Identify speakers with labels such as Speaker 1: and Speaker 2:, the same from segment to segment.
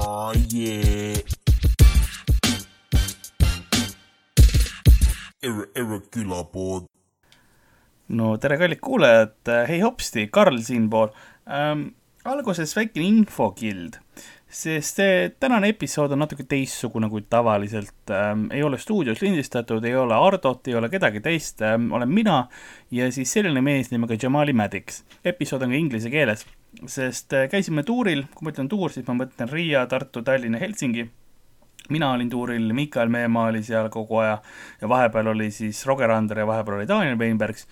Speaker 1: Oh yeah. Ir- Irregular pood .
Speaker 2: no tere , kallid kuulajad , hei hopsti , Karl siinpool ähm, . alguses väikene infokild , sest see tänane episood on natuke teistsugune kui tavaliselt ähm, . ei ole stuudios lindistatud , ei ole Hardot , ei ole kedagi teist ähm, , olen mina ja siis selline mees nimega Jamali Maddox . episood on ka inglise keeles , sest äh, käisime tuuril , kui ma ütlen tuur , siis ma mõtlen Riia , Tartu , Tallinn ja Helsingi mina olin tuuril , Mikael Meemaa oli seal kogu aja ja vahepeal oli siis Roger Ander ja vahepeal oli Daniel Weinbergs .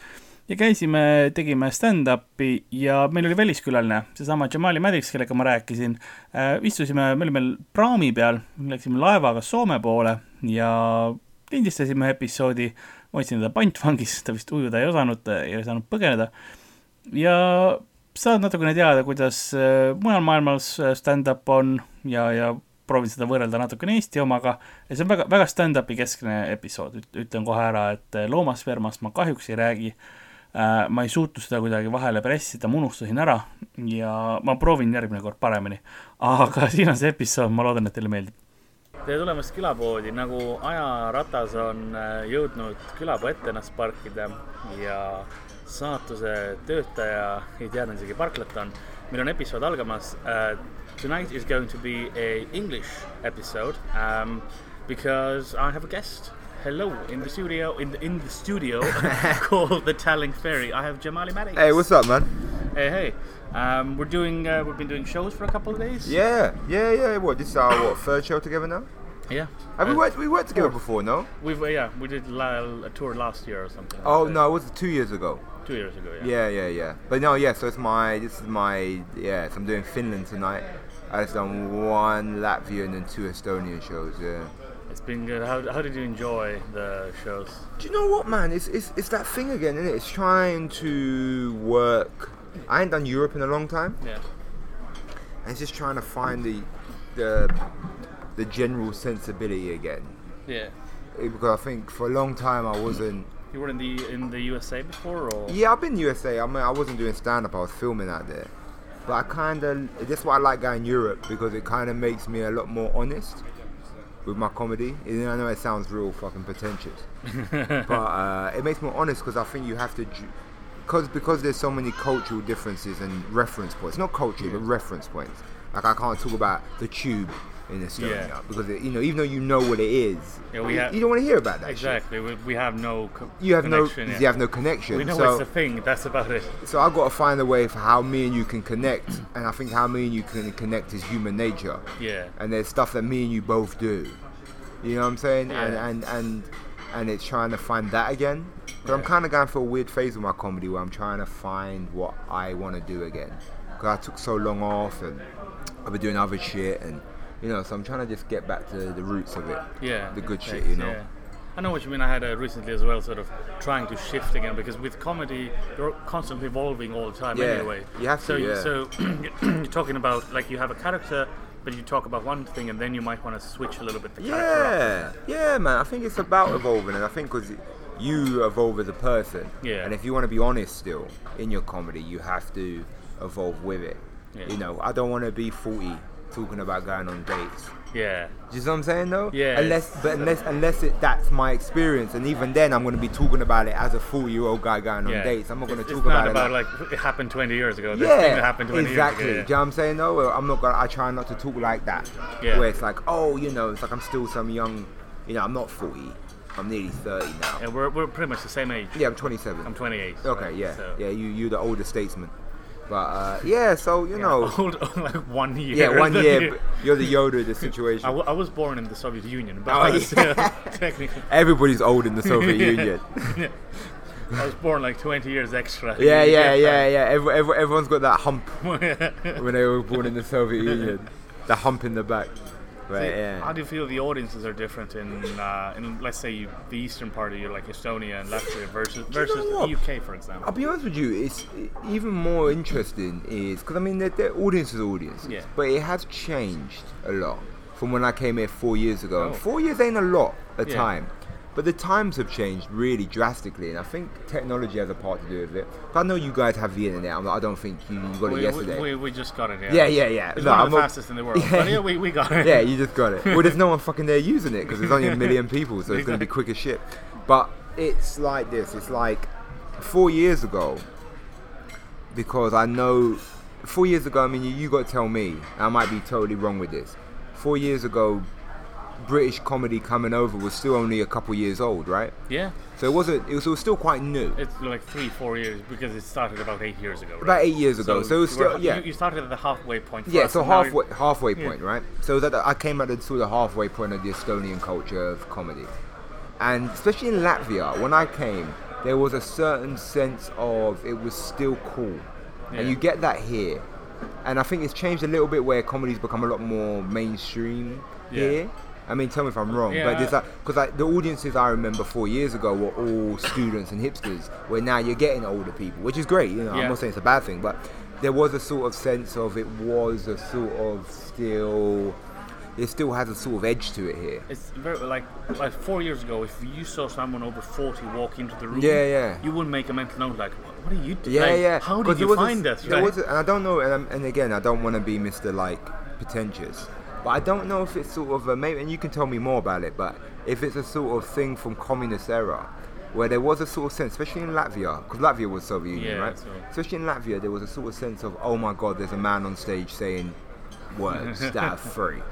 Speaker 2: ja käisime , tegime stand-up'i ja meil oli väliskülaline , seesama Jamali Madix , kellega ma rääkisin . istusime , me olime praami peal , läksime laevaga Soome poole ja lindistasime episoodi . ma hoidsin teda pantvangis , ta vist ujuda ei osanud , ei saanud põgeneda . ja saad natukene teada , kuidas äh, mujal maailmas äh, stand-up on ja , ja proovin seda võrrelda natukene Eesti omaga . ja see on väga , väga stand-up'i keskne episood , ütlen kohe ära , et äh, loomaspermast ma kahjuks ei räägi . ma ei suutnud seda kuidagi vahele pressida , ma unustasin ära ja ma proovin järgmine kord paremini . aga siin on see episood , ma loodan , et teile meeldib .
Speaker 3: tere tulemast külapoodi , nagu ajaratas on äh, jõudnud külapuu ette ennast parkida ja saatuse töötaja ei teadnud isegi parklat on . meil on episood algamas uh, . Tonight is going to be a English episode um, because I have a guest . Hello in the studio in the in the studio called the Telling Fairy . I have Jamali Maddox .
Speaker 4: Hey, what's up, man?
Speaker 3: Hey hey um, , we are doing uh, , we have been doing shows for a couple of days .
Speaker 4: Yeah, yeah, yeah. What? This is our what third show together now?
Speaker 3: yeah.
Speaker 4: Have we
Speaker 3: Uh,
Speaker 4: worked? We worked together before, no?
Speaker 3: We've uh, yeah we did la- a tour last year or something. like
Speaker 4: Oh
Speaker 3: that.
Speaker 4: no, it was two years ago.
Speaker 3: two years ago. Yeah.
Speaker 4: Yeah, yeah, yeah. But no, yeah. So it's my. This is my. Yeah. So I'm doing Finland tonight. I just done one Latvian and two Estonian shows. Yeah.
Speaker 3: It's been good. How, how did you enjoy the shows?
Speaker 4: Do you know what, man? It's it's, it's that thing again, isn't it? It's trying to work. I ain't done Europe in a long time.
Speaker 3: Yeah.
Speaker 4: And it's just trying to find the the the general sensibility again.
Speaker 3: Yeah.
Speaker 4: Eh, Because I think for a long time I wasn't.
Speaker 3: You were in the in the USA before, or
Speaker 4: Yeah, I've been USA. I mean, I wasn't doing stand up. I was filming out there, but I kind of that's why I like going Europe because it kind of makes me a lot more honest with my comedy. And I know it sounds real fucking pretentious, but uh, it makes me more honest because I think you have to. ju- Cause, because there's so many cultural differences and reference points, not culture, but reference points. Like I can't talk about the tube in Estonia
Speaker 3: Yeah.
Speaker 4: because it, you know, even though you know what it is,
Speaker 3: Yeah, we
Speaker 4: you,
Speaker 3: have-
Speaker 4: you don't want to hear about that. shit.
Speaker 3: exactly. We, we have no. Co-
Speaker 4: You have no,
Speaker 3: connection, yeah.
Speaker 4: you have no connection.
Speaker 3: We know
Speaker 4: so,
Speaker 3: it's a thing. That's about it.
Speaker 4: so I've got to find a way for how me and you can connect, and I think how me and you can connect is human nature.
Speaker 3: Yeah.
Speaker 4: And there's stuff that me and you both do. You know what I'm saying?
Speaker 3: Yeah.
Speaker 4: And, and and and it's trying to find that again. But I'm
Speaker 3: Yeah.
Speaker 4: kind of going through a weird phase with my comedy where I'm trying to find what I want to do again. Because I took so long off, and I've been doing other shit, and you know, so I'm trying to just get back to the roots of it.
Speaker 3: Yeah.
Speaker 4: The good
Speaker 3: it
Speaker 4: shit,
Speaker 3: takes-
Speaker 4: you know.
Speaker 3: yeah. I know what you mean. I had uh, recently as well, sort of trying to shift again because with comedy you're constantly evolving all the time
Speaker 4: Yeah,
Speaker 3: anyway.
Speaker 4: you have to,
Speaker 3: So
Speaker 4: yeah.
Speaker 3: so you're talking about like you have a character, but you talk about one thing and then you might want to switch a little bit the character up.
Speaker 4: Yeah, yeah, man. I think it's about evolving, and I think because you evolve as a person.
Speaker 3: Yeah.
Speaker 4: And if you want to be honest still in your comedy, you have to evolve with it.
Speaker 3: Yeah.
Speaker 4: You know, I don't want to be forty talking about going on dates.
Speaker 3: Yeah.
Speaker 4: Do you know what I'm saying though?
Speaker 3: Yeah,
Speaker 4: Unless,
Speaker 3: it's-
Speaker 4: but unless, unless it, that's my experience, and even then, I'm going to be talking about it as a forty-year-old guy going on
Speaker 3: yeah.
Speaker 4: dates. I'm not going to
Speaker 3: It's-
Speaker 4: talk
Speaker 3: it's not
Speaker 4: about, it.
Speaker 3: about
Speaker 4: like-
Speaker 3: like it happened 20 years ago. This thing that
Speaker 4: yeah,
Speaker 3: happened 20
Speaker 4: exactly. Do
Speaker 3: years
Speaker 4: you
Speaker 3: ago.
Speaker 4: know what I'm saying? No, Well, I'm not gonna. I try not to talk like that.
Speaker 3: Yeah.
Speaker 4: Where it's like, oh, you know, it's like I'm still some young. You know, I'm not 40. I'm nearly 30 now.
Speaker 3: Yeah. And we're, we're pretty much the same age.
Speaker 4: Yeah, I'm 27.
Speaker 3: I'm 28.
Speaker 4: okay,
Speaker 3: right?
Speaker 4: yeah,
Speaker 3: So-
Speaker 4: yeah. You you're the older statesman. But uh, yeah, so you know,
Speaker 3: Old, like one year.
Speaker 4: yeah, one
Speaker 3: The-
Speaker 4: year. but You're the Yoda of the situation.
Speaker 3: I, w- I was born in the Soviet Union, but
Speaker 4: Oh,
Speaker 3: I was, uh,
Speaker 4: yeah.
Speaker 3: technically,
Speaker 4: Everybody's old in the Soviet
Speaker 3: Yeah.
Speaker 4: Union.
Speaker 3: I was born like 20 years extra.
Speaker 4: Yeah, yeah, yeah, yeah. Every, every, everyone's got that hump
Speaker 3: yeah.
Speaker 4: when they were born in the Soviet Union. The hump in the back. Right,
Speaker 3: How
Speaker 4: yeah.
Speaker 3: do you feel the audiences are different in, uh, in let's say, you, the eastern part of you, like Estonia and Latvia, versus versus
Speaker 4: what?
Speaker 3: the UK, for
Speaker 4: I'll
Speaker 3: example?
Speaker 4: be honest with you. It's even more interesting is because I mean their, their audience is audience,
Speaker 3: Yeah.
Speaker 4: but it has changed a lot from when I came here four years ago.
Speaker 3: Oh.
Speaker 4: And four years ain't a lot of
Speaker 3: Yeah.
Speaker 4: time, But the times have changed really drastically, and I think technology has a part to do with it. I know you guys have the internet. I'm like, I don't think you, you got
Speaker 3: We,
Speaker 4: it
Speaker 3: we,
Speaker 4: yesterday.
Speaker 3: we, we just got it.
Speaker 4: yeah, yeah, yeah.
Speaker 3: It's
Speaker 4: No,
Speaker 3: one of
Speaker 4: I'm
Speaker 3: the
Speaker 4: not-
Speaker 3: fastest in the world. But yeah, we, we got it.
Speaker 4: yeah, you just got it. Well, there's no one fucking there using it because there's only a million people, so it's going to be quick as shit. But it's like this. It's like four years ago, because I know four years ago. I mean, you, you got to tell me. and I might be totally wrong with this. Four years ago, British comedy coming over was still only a couple years old, right?
Speaker 3: Yeah.
Speaker 4: So it wasn't. It was, it was still quite new.
Speaker 3: It's like three, four years because it started about eight years ago. Right?
Speaker 4: About eight years ago, so it was
Speaker 3: we're-
Speaker 4: still- yeah.
Speaker 3: You, you started at the halfway point. for
Speaker 4: Yeah,
Speaker 3: us,
Speaker 4: so
Speaker 3: and now
Speaker 4: halfway halfway
Speaker 3: Yeah.
Speaker 4: point, right? So that I came at the sort of halfway point of the Estonian culture of comedy, and especially in Latvia, when I came, there was a certain sense of it was still cool, and
Speaker 3: Yeah.
Speaker 4: you get that here, and I think it's changed a little bit where comedy's become a lot more mainstream
Speaker 3: Yeah.
Speaker 4: here. I mean, tell me if I'm wrong, but
Speaker 3: Yeah,
Speaker 4: there's
Speaker 3: I-
Speaker 4: that because like, the audiences I remember four years ago were all students and hipsters, where now you're getting older people, which is great. You know, I'm
Speaker 3: Yeah.
Speaker 4: not saying it's a bad thing, but there was a sort of sense of it was a sort of still, it still has a sort of edge to it here.
Speaker 3: It's very like like four years ago. If you saw someone over forty walk into the room,
Speaker 4: Yeah, yeah.
Speaker 3: you would make a mental note like, "What, what are you doing?
Speaker 4: Yeah,
Speaker 3: Like,
Speaker 4: yeah.
Speaker 3: How
Speaker 4: 'Cause
Speaker 3: did
Speaker 4: there
Speaker 3: you
Speaker 4: was a-
Speaker 3: find this?
Speaker 4: there
Speaker 3: Right?
Speaker 4: was a- and I don't know. And, I'm, and again, I don't want to be Mr. Like pretentious, but I don't know if it's sort of a maybe. And you can tell me more about it, but if it's a sort of thing from communist era, where there was a sort of sense, especially in Latvia, because Latvia was Soviet Union,
Speaker 3: Yeah,
Speaker 4: right?
Speaker 3: so-
Speaker 4: Especially in Latvia, there was a sort of sense of, oh my God, there's a man on stage saying words that are free. Do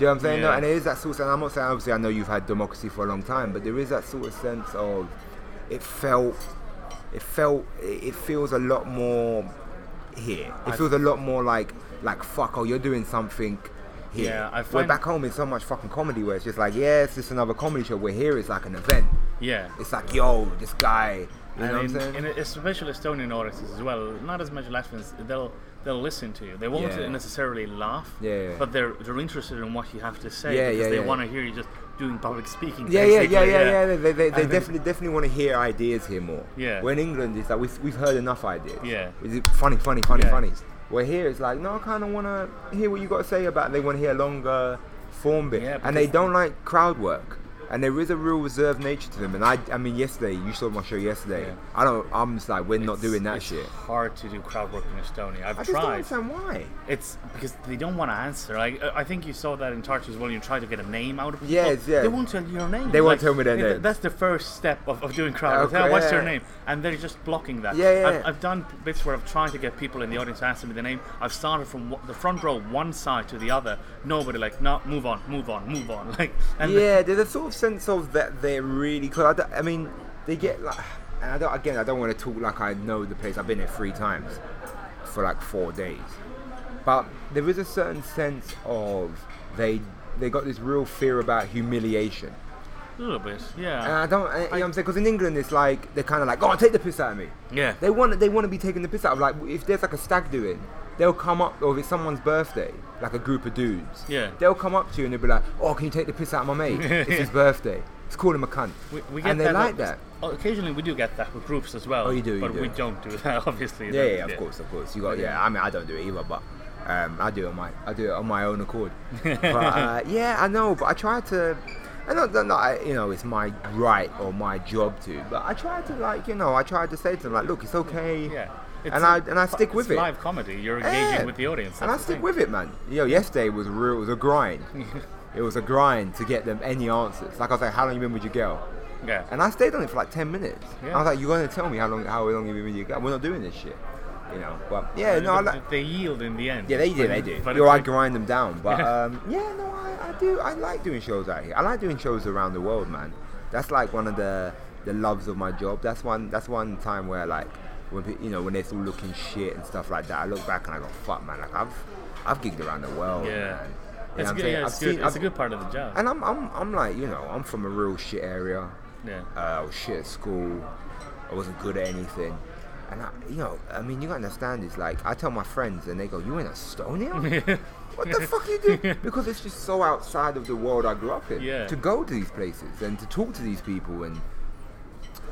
Speaker 4: you know what I'm saying? No,
Speaker 3: Yeah.
Speaker 4: and it is that sort of, and I'm not saying, obviously, I know you've had democracy for a long time, but there is that sort of sense of it felt, it felt, it it feels a lot more here. It feels a lot more like, like, fuck, oh, you're doing something here.
Speaker 3: Yeah, I
Speaker 4: We're
Speaker 3: find-
Speaker 4: back home in so much fucking comedy where it's just like, yeah, it's just another comedy show. We're here, it's like an event.
Speaker 3: yeah.
Speaker 4: It's like, yo, this guy, you know
Speaker 3: and
Speaker 4: what I'm
Speaker 3: in,
Speaker 4: saying?
Speaker 3: in especially Estonian audiences as well, not as much Latvians. They'll they'll listen to you. They won't
Speaker 4: Yeah.
Speaker 3: necessarily laugh.
Speaker 4: Yeah, yeah.
Speaker 3: But they're they're interested in what you have to say
Speaker 4: Yeah,
Speaker 3: because
Speaker 4: yeah,
Speaker 3: they
Speaker 4: yeah.
Speaker 3: want to hear you just doing public speaking.
Speaker 4: Yeah, yeah, yeah,
Speaker 3: basically,
Speaker 4: yeah, yeah. They, they,
Speaker 3: I
Speaker 4: they
Speaker 3: think-
Speaker 4: definitely definitely want to hear ideas here more.
Speaker 3: Yeah.
Speaker 4: Where in England, it's like we've, we've heard enough ideas.
Speaker 3: Yeah.
Speaker 4: Is it funny, funny, funny,
Speaker 3: Yeah.
Speaker 4: funny? Where here it's like, no, I kind of want to hear what you got to say about. It. They want to hear a longer form bit,
Speaker 3: Yeah,
Speaker 4: and they
Speaker 3: because-
Speaker 4: don't like crowd work. And there is a real reserved nature to them. And I, I mean, yesterday you saw my show yesterday.
Speaker 3: Yeah.
Speaker 4: I don't. I'm just like, we're not
Speaker 3: It's-
Speaker 4: doing that
Speaker 3: it's
Speaker 4: shit.
Speaker 3: Hard to do crowd work in Estonia. I've
Speaker 4: I just don't
Speaker 3: tried.
Speaker 4: understand why.
Speaker 3: It's because they don't want to answer. Like I I think you saw that in Tartu as well. You try to get a name out of people.
Speaker 4: Yes, yeah.
Speaker 3: They won't tell you your name.
Speaker 4: They won't tell me their
Speaker 3: th-
Speaker 4: name.
Speaker 3: That's the first step of, of doing crowd.
Speaker 4: Okay,
Speaker 3: work. What's
Speaker 4: yeah,
Speaker 3: your
Speaker 4: yeah.
Speaker 3: name? And they're just blocking that.
Speaker 4: Yeah, yeah,
Speaker 3: I've,
Speaker 4: yeah.
Speaker 3: I've done bits where I've tried to get people in the audience to answer me the name. I've started from w- the front row one side to the other. Nobody like no, move on, move on, move on. Like and
Speaker 4: yeah, there's a sort of sense of that they're really. Cause I, don't- I mean, they get like, and I don't, again, I don't want to talk like I know the place. I've been here three times for like four days, but there is a certain sense of they they got this real fear about humiliation.
Speaker 3: a little bit.
Speaker 4: And
Speaker 3: Yeah.
Speaker 4: I don't, you know what I'm saying? Because in England, it's like they're kind of like, go on, take the piss out of me.
Speaker 3: yeah.
Speaker 4: They want they want to be taking the piss out of like if there's like a stag doing, they'll come up or if it's someone's birthday, like a group of dudes.
Speaker 3: Yeah.
Speaker 4: They'll come up to you and they'll be like, "Oh, can you take the piss out of my mate? it's his birthday. Let's call him a cunt."
Speaker 3: We, we get
Speaker 4: and they
Speaker 3: that
Speaker 4: like that.
Speaker 3: Oh, Occasionally, we do get that with groups as well.
Speaker 4: Oh, you do, you
Speaker 3: but
Speaker 4: do.
Speaker 3: we don't do that, obviously.
Speaker 4: Yeah, yeah, of course, of course. You got yeah. I mean, I don't do it either, but um, I do it on my I do it on my own accord. but uh, yeah, I know. But I try to. I don't, don't know, I- you know, it's my right or my job to, but I try to like, you know, I try to say to them like, look, it's okay.
Speaker 3: Yeah.
Speaker 4: And I and I stick
Speaker 3: it's
Speaker 4: with it.
Speaker 3: Live comedy. You're engaging
Speaker 4: Yeah.
Speaker 3: with the audience.
Speaker 4: Eh, and I
Speaker 3: that's the
Speaker 4: stick
Speaker 3: thing.
Speaker 4: with it, man. Yo, yesterday was real. It was a grind. it was a grind to get them any answers. Like I was like, how long you been with your girl?
Speaker 3: Yeah.
Speaker 4: And I stayed on it for like ten minutes.
Speaker 3: Yeah.
Speaker 4: I was like, you're gonna tell me how long how long you been with your girl? We're not doing this shit, you know. But yeah,
Speaker 3: But
Speaker 4: no, I like.
Speaker 3: they yield in the end.
Speaker 4: Yeah, they
Speaker 3: But-
Speaker 4: do. They do.
Speaker 3: But
Speaker 4: You're,
Speaker 3: it's
Speaker 4: I
Speaker 3: like,
Speaker 4: grind them down, but
Speaker 3: Yeah.
Speaker 4: um, yeah, no, I, I do. I like doing shows out here. I like doing shows around the world, man. That's like one of the the loves of my job. That's one. That's one time where like when pe- you know when it's all looking shit and stuff like that. I look back and I go, fuck, man. Like I've I've gigged around the world.
Speaker 3: yeah.
Speaker 4: man. You know
Speaker 3: It's
Speaker 4: what I'm
Speaker 3: good.
Speaker 4: saying?
Speaker 3: Yeah,
Speaker 4: I've
Speaker 3: it's good.
Speaker 4: seen-
Speaker 3: It's a
Speaker 4: I've-
Speaker 3: good part of the job.
Speaker 4: And I'm, I'm, I'm like, you know, I'm from a real shit area.
Speaker 3: Yeah.
Speaker 4: Uh, I was shit at school. I wasn't good at anything. And I, you know, I mean, you gotta understand, it's like, I tell my friends and they go, you in Estonia? what the fuck you do? Because it's just so outside of the world I grew up in.
Speaker 3: Yeah.
Speaker 4: To go to these places and to talk to these people and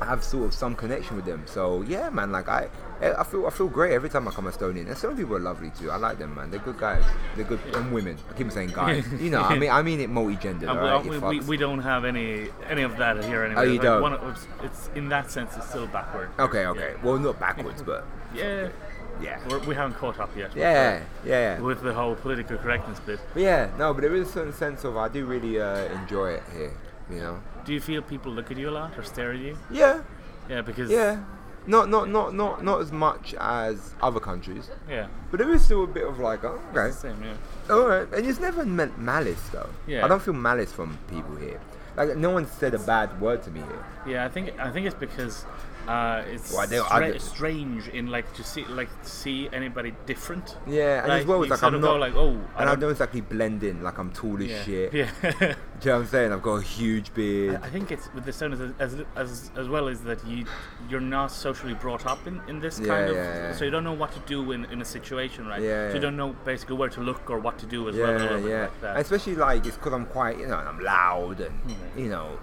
Speaker 4: have sort of some connection with them. So yeah, man, like I, I I feel I feel great every time I come Estonian. And some people are lovely too. I like them, man. They're good guys. They're good and women. I keep saying guys. You know, I mean I mean it multi-gendered.
Speaker 3: Uh,
Speaker 4: alright,
Speaker 3: we-
Speaker 4: it
Speaker 3: we,
Speaker 4: fucks. Oh,
Speaker 3: we don't have any any of that here anyway.
Speaker 4: you
Speaker 3: Like,
Speaker 4: don't? Oh.
Speaker 3: one of- it's in that sense, it's still backward.
Speaker 4: Okay, okay. Well, not backwards, but
Speaker 3: Yeah,
Speaker 4: yeah,
Speaker 3: We're, we haven't caught up yet. with
Speaker 4: yeah, yeah.
Speaker 3: the- With the whole political correctness bit,
Speaker 4: But yeah, no, but there is a certain sense of I do really uh, enjoy it here, you know.
Speaker 3: do you feel people look at you a lot or stare at you?
Speaker 4: Yeah,
Speaker 3: Yeah, because
Speaker 4: yeah. Not not not not not as much as other countries,
Speaker 3: yeah,
Speaker 4: but there is still a bit of like, oh, okay,
Speaker 3: it's the same. Yeah,
Speaker 4: all right. And it's never meant malice though.
Speaker 3: Yeah.
Speaker 4: I don't feel malice from people here. Like no one said a bad word to me here.
Speaker 3: yeah. I think I think it's because uh, it's
Speaker 4: Well, I don't- I
Speaker 3: stra-
Speaker 4: don't-
Speaker 3: strange in like to see like to see anybody different.
Speaker 4: Yeah, and as well
Speaker 3: you
Speaker 4: it's like
Speaker 3: sort
Speaker 4: I'm
Speaker 3: of
Speaker 4: not
Speaker 3: go like oh,
Speaker 4: and I don't exactly blend in. Like I'm tall as
Speaker 3: yeah,
Speaker 4: shit.
Speaker 3: Yeah.
Speaker 4: Do you know what I'm saying? I've got a huge beard.
Speaker 3: I think it's with the sound as, as as as well is that you you're not socially brought up in, in this
Speaker 4: Yeah,
Speaker 3: kind of
Speaker 4: yeah, yeah.
Speaker 3: so you don't know what to do in, in a situation right
Speaker 4: Yeah,
Speaker 3: so
Speaker 4: yeah.
Speaker 3: you don't know basically where to look or what to do as well a
Speaker 4: Yeah,
Speaker 3: little bit
Speaker 4: yeah.
Speaker 3: like
Speaker 4: And
Speaker 3: that.
Speaker 4: Especially like it's because I'm quite, you know, and I'm loud and
Speaker 3: Hmm.
Speaker 4: you know,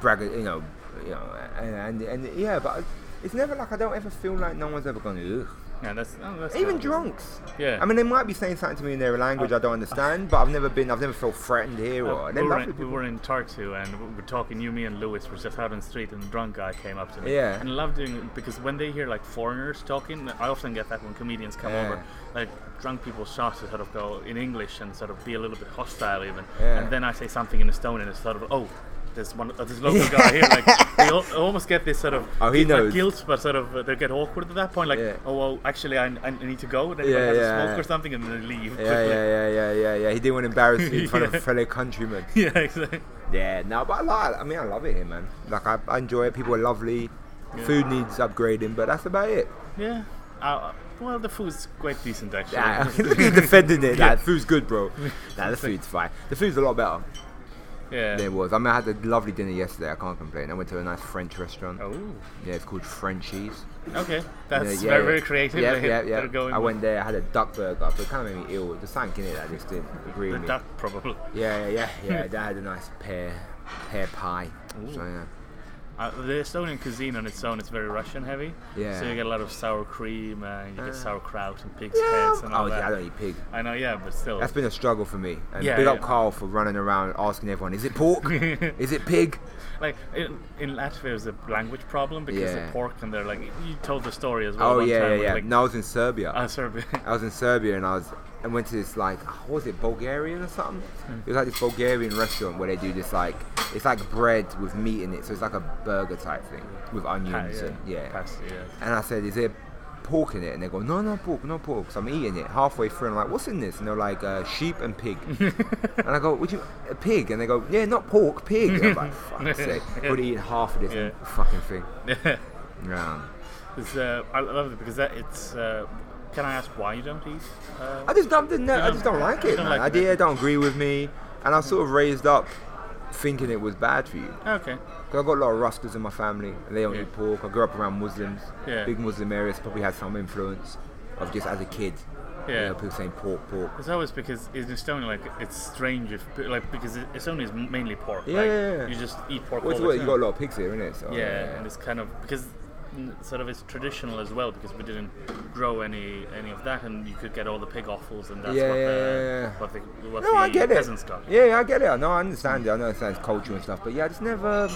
Speaker 4: braggart, you know, you know, and, and and yeah, but it's never like I don't ever feel like no one's ever gone ugh.
Speaker 3: yeah that's, oh, that's
Speaker 4: Even
Speaker 3: good.
Speaker 4: drunks.
Speaker 3: Yeah.
Speaker 4: I mean, they might be saying something to me in their language I don't understand, but I've never been, I've never felt threatened here
Speaker 3: Uh,
Speaker 4: or.
Speaker 3: we,
Speaker 4: They're
Speaker 3: were
Speaker 4: lovely
Speaker 3: in, we
Speaker 4: people.
Speaker 3: were in Tartu and we were talking. You, me, and Lewis were just out on the street, and a drunk guy came up to me.
Speaker 4: Yeah.
Speaker 3: And I love doing it because when they hear like foreigners talking, I often get that when comedians come
Speaker 4: Yeah.
Speaker 3: over, like drunk people start to sort of go in English and sort of be a little bit hostile even.
Speaker 4: Yeah.
Speaker 3: And then I say something in Estonian, and it's sort of oh. There's one, uh, this local guy here. Like, they al- almost get this sort of
Speaker 4: Oh, he
Speaker 3: not
Speaker 4: knows.
Speaker 3: guilt, but sort of uh, they get awkward at that point. Like,
Speaker 4: Yeah.
Speaker 3: oh, well, actually, I, I need to go. And then
Speaker 4: Yeah,
Speaker 3: yeah, yeah,
Speaker 4: yeah,
Speaker 3: a smoke
Speaker 4: yeah.
Speaker 3: or something, and then they leave. quickly.
Speaker 4: Yeah, yeah, yeah, yeah, yeah, yeah. He didn't want to embarrass me in front
Speaker 3: Yeah.
Speaker 4: of fellow countrymen.
Speaker 3: yeah, exactly.
Speaker 4: Yeah, no, but I like. I mean, I love it here, man. Like I, I enjoy it. People are lovely.
Speaker 3: Yeah.
Speaker 4: Food needs upgrading, but that's about it.
Speaker 3: Yeah. Uh, well, the food's quite decent actually.
Speaker 4: Yeah, look at defending it. Like, food's good, bro. Nah, the food's fine. The food's a lot better
Speaker 3: yeah.
Speaker 4: than it was. I mean, I had a lovely dinner yesterday. I can't complain. I went to a nice French restaurant.
Speaker 3: Oh.
Speaker 4: Yeah, it's called Frenchies.
Speaker 3: Okay. That's
Speaker 4: yeah,
Speaker 3: very,
Speaker 4: yeah.
Speaker 3: very creative.
Speaker 4: Yeah,
Speaker 3: They-
Speaker 4: yeah,
Speaker 3: They're
Speaker 4: yeah.
Speaker 3: going
Speaker 4: I
Speaker 3: with
Speaker 4: went there. I had a duck burger, but it kind of made me ill. There's something in it that just didn't agree
Speaker 3: the
Speaker 4: with me.
Speaker 3: duck, probably.
Speaker 4: Yeah, yeah, yeah, yeah. They had a nice pear, pear pie. So yeah.
Speaker 3: Uh, the Estonian cuisine on its own is very Russian heavy.
Speaker 4: Yeah.
Speaker 3: So you get a lot of sour cream and you get sauerkraut and pig's heads and all
Speaker 4: Oh
Speaker 3: that.
Speaker 4: yeah, I don't eat pig.
Speaker 3: I know, yeah, but still.
Speaker 4: That's been a struggle for me. And
Speaker 3: Yeah,
Speaker 4: big up
Speaker 3: yeah.
Speaker 4: Carl for running around asking everyone, is it pork? is it pig?
Speaker 3: like in, in Latvia, there's a language problem because
Speaker 4: Yeah.
Speaker 3: of pork, and they're like, you told the story as well.
Speaker 4: Oh
Speaker 3: one
Speaker 4: yeah,
Speaker 3: time,
Speaker 4: yeah,
Speaker 3: where,
Speaker 4: yeah.
Speaker 3: Like,
Speaker 4: no, I was in Serbia.
Speaker 3: uh, Serbia.
Speaker 4: I was in Serbia and I was and went to this like what was it Bulgarian or something? It was like this Bulgarian restaurant where they do this like it's like bread with meat in it, so it's like a burger type thing with onions and yeah.
Speaker 3: Pasta, yeah.
Speaker 4: And I said, is there pork in it? And they go, no, no pork, no pork. So I'm eating it halfway through, and I'm like, what's in this? And they're like, uh, sheep and pig. and I go, would you a pig? And they go, yeah, not pork, pig. And I'm like, fuck's sake, probably eating half of this
Speaker 3: Yeah.
Speaker 4: fucking thing. Yeah.
Speaker 3: It's, uh, I love it because that it's. Uh, can I ask why you don't eat? Uh,
Speaker 4: I just don't, didn't, I
Speaker 3: don't-
Speaker 4: just don't like
Speaker 3: you
Speaker 4: it,
Speaker 3: don't
Speaker 4: man.
Speaker 3: like
Speaker 4: I
Speaker 3: it.
Speaker 4: did, don't agree with me, and I was sort of raised up thinking it was bad for you.
Speaker 3: Okay.
Speaker 4: Cause I've got a lot of Rastas in my family, and they don't
Speaker 3: Yeah.
Speaker 4: eat pork. I grew up around Muslims.
Speaker 3: Yeah.
Speaker 4: Big Muslim areas probably had some influence of just as a kid. You
Speaker 3: Yeah.
Speaker 4: know, people saying pork, pork.
Speaker 3: It's always because in Estonia, like it's strange if like because it- Estonia is mainly pork.
Speaker 4: Yeah,
Speaker 3: like,
Speaker 4: yeah, yeah.
Speaker 3: You just eat pork
Speaker 4: Well, it's
Speaker 3: all
Speaker 4: what,
Speaker 3: the
Speaker 4: you
Speaker 3: time.
Speaker 4: got a lot of pigs here, innit? So,
Speaker 3: yeah, and it's kind of because mm, sort of it's traditional as well because we didn't grow any any of that, and you could get all the pig offals, and that's
Speaker 4: Yeah,
Speaker 3: what
Speaker 4: yeah,
Speaker 3: the
Speaker 4: yeah, yeah.
Speaker 3: what the what
Speaker 4: No,
Speaker 3: the
Speaker 4: I get
Speaker 3: peasants
Speaker 4: it.
Speaker 3: got.
Speaker 4: Yeah, yeah, I get it. I know, I understand it. I know it sounds culture and stuff, but yeah, I just never,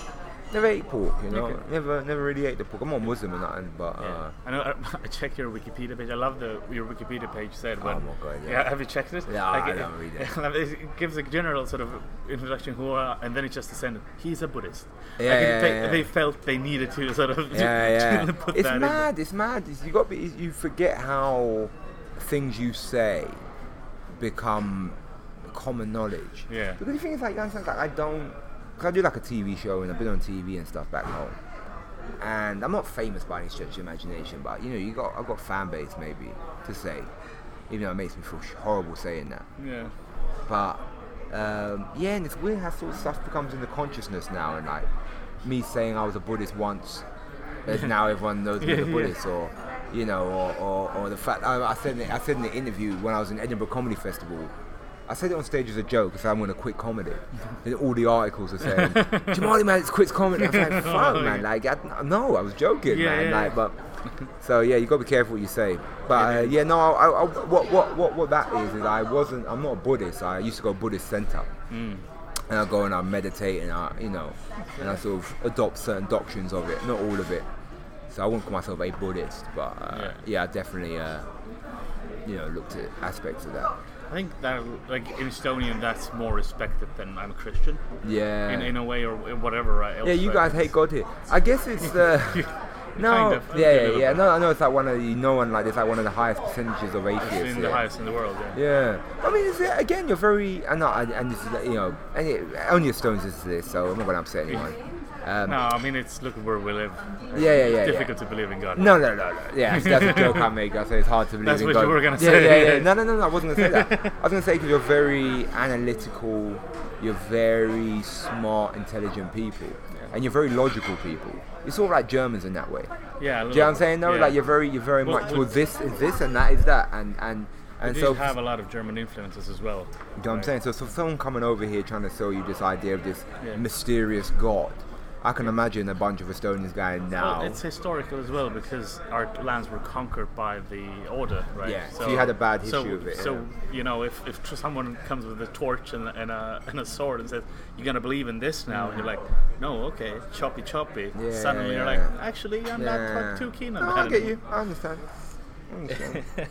Speaker 4: never ate pork. You know,
Speaker 3: Okay.
Speaker 4: never, never really ate the pork. I'm not Muslim or nothing, but
Speaker 3: Yeah.
Speaker 4: uh,
Speaker 3: I know. I, I checked your Wikipedia page. I love the your Wikipedia page said. when-
Speaker 4: Oh, my God, yeah.
Speaker 3: Have you checked it?
Speaker 4: Yeah, I don't read it.
Speaker 3: It gives a general sort of introduction who are, and then it's just a sentence. He's a Buddhist.
Speaker 4: Yeah,
Speaker 3: Like,
Speaker 4: yeah,
Speaker 3: they,
Speaker 4: yeah, yeah.
Speaker 3: they felt they needed to sort of
Speaker 4: yeah, yeah.
Speaker 3: put
Speaker 4: it's
Speaker 3: that in.
Speaker 4: mad. It's mad. It's, you got to be, you forget how things you say become common knowledge.
Speaker 3: Yeah.
Speaker 4: Because the thing is, like, you understand, like, I don't. Cause I do like a TV show and I've been on TV and stuff back home. And I'm not famous by any stretch of the imagination, but you know, you got I've got fan base maybe to say, even though it makes me feel sh- horrible saying that.
Speaker 3: Yeah.
Speaker 4: But um, yeah, and it's weird how sort of stuff becomes in the consciousness now, and like me saying I was a Buddhist once, as now everyone knows me as a
Speaker 3: Yeah, yeah.
Speaker 4: Buddhist, or you know, or, or, or the fact I, I said in the, I said in the interview when I was in Edinburgh Comedy Festival, I I said it on stage as a joke because I'm going to quit comedy. and all the articles are saying, Jamali man, it's quits comedy. I was like, fuck,
Speaker 3: yeah.
Speaker 4: man. Like, I, no, I was joking,
Speaker 3: Yeah,
Speaker 4: man.
Speaker 3: yeah,
Speaker 4: Like, but so yeah, you got to be careful what you say. But uh, yeah, no, I, I, I, what, what, what, what that is is I wasn't. I'm not a Buddhist. I used to go Buddhist center,
Speaker 3: Mm.
Speaker 4: and I go and I meditate and I, you know, and I sort of adopt certain doctrines of it, not all of it. So I wouldn't call myself a Buddhist, but uh,
Speaker 3: Yeah.
Speaker 4: yeah. I definitely, uh, you know, looked at aspects of that.
Speaker 3: I think that, like in Estonian, that's more respected than I'm a Christian
Speaker 4: Yeah.
Speaker 3: in, in a way or whatever. Right?
Speaker 4: Yeah, you guys hate God here. I guess it's the. No,
Speaker 3: Kind of.
Speaker 4: yeah,
Speaker 3: Okay,
Speaker 4: yeah, yeah. No, I know it's like one of the no one like it's like one of the highest percentages of atheists.
Speaker 3: in the
Speaker 4: here.
Speaker 3: highest in the world. Yeah.
Speaker 4: Yeah, I mean, it's, again, you're very, and not, and this is, you know, and it, only if Stones is this, so I'm not going to upset anyone. Um,
Speaker 3: No, I mean it's look where we live.
Speaker 4: Yeah, yeah, yeah,
Speaker 3: It's
Speaker 4: yeah.
Speaker 3: difficult to believe in God.
Speaker 4: No, no, no, no. Yeah, so that's a joke I make. I say it's hard to believe
Speaker 3: That's
Speaker 4: in
Speaker 3: what
Speaker 4: God.
Speaker 3: you were gonna
Speaker 4: yeah,
Speaker 3: say.
Speaker 4: Yeah, yeah, No, no, no, no. I wasn't going to say that. I was going to say because you're very analytical, you're very smart, intelligent people, and you're very logical people. You're sort of like Germans in that way.
Speaker 3: Yeah. a
Speaker 4: Do you know
Speaker 3: little-
Speaker 4: what I'm saying? No,
Speaker 3: yeah.
Speaker 4: like you're very, you're very
Speaker 3: Well,
Speaker 4: much.
Speaker 3: we-
Speaker 4: Well, this is this, and that is that, and and and
Speaker 3: We
Speaker 4: so
Speaker 3: did have a lot of German influences as well.
Speaker 4: you know what I'm saying? So, so someone coming over here trying to sell you this idea of this
Speaker 3: Yeah.
Speaker 4: mysterious god. I can imagine a bunch of Estonians going now.
Speaker 3: Well, it's historical as well because our lands were conquered by the order, right?
Speaker 4: Yeah, so you had a bad
Speaker 3: so-
Speaker 4: history of it,
Speaker 3: So you know, if, if tr- someone comes with a torch and, and a and a sword and says you're gonna believe in this now, and you're like, no, okay, choppy choppy.
Speaker 4: Yeah,
Speaker 3: Suddenly you're
Speaker 4: yeah.
Speaker 3: like, actually, I'm not too keen on
Speaker 4: no,
Speaker 3: that.
Speaker 4: I get
Speaker 3: anymore."
Speaker 4: you. I understand. I understand. yeah.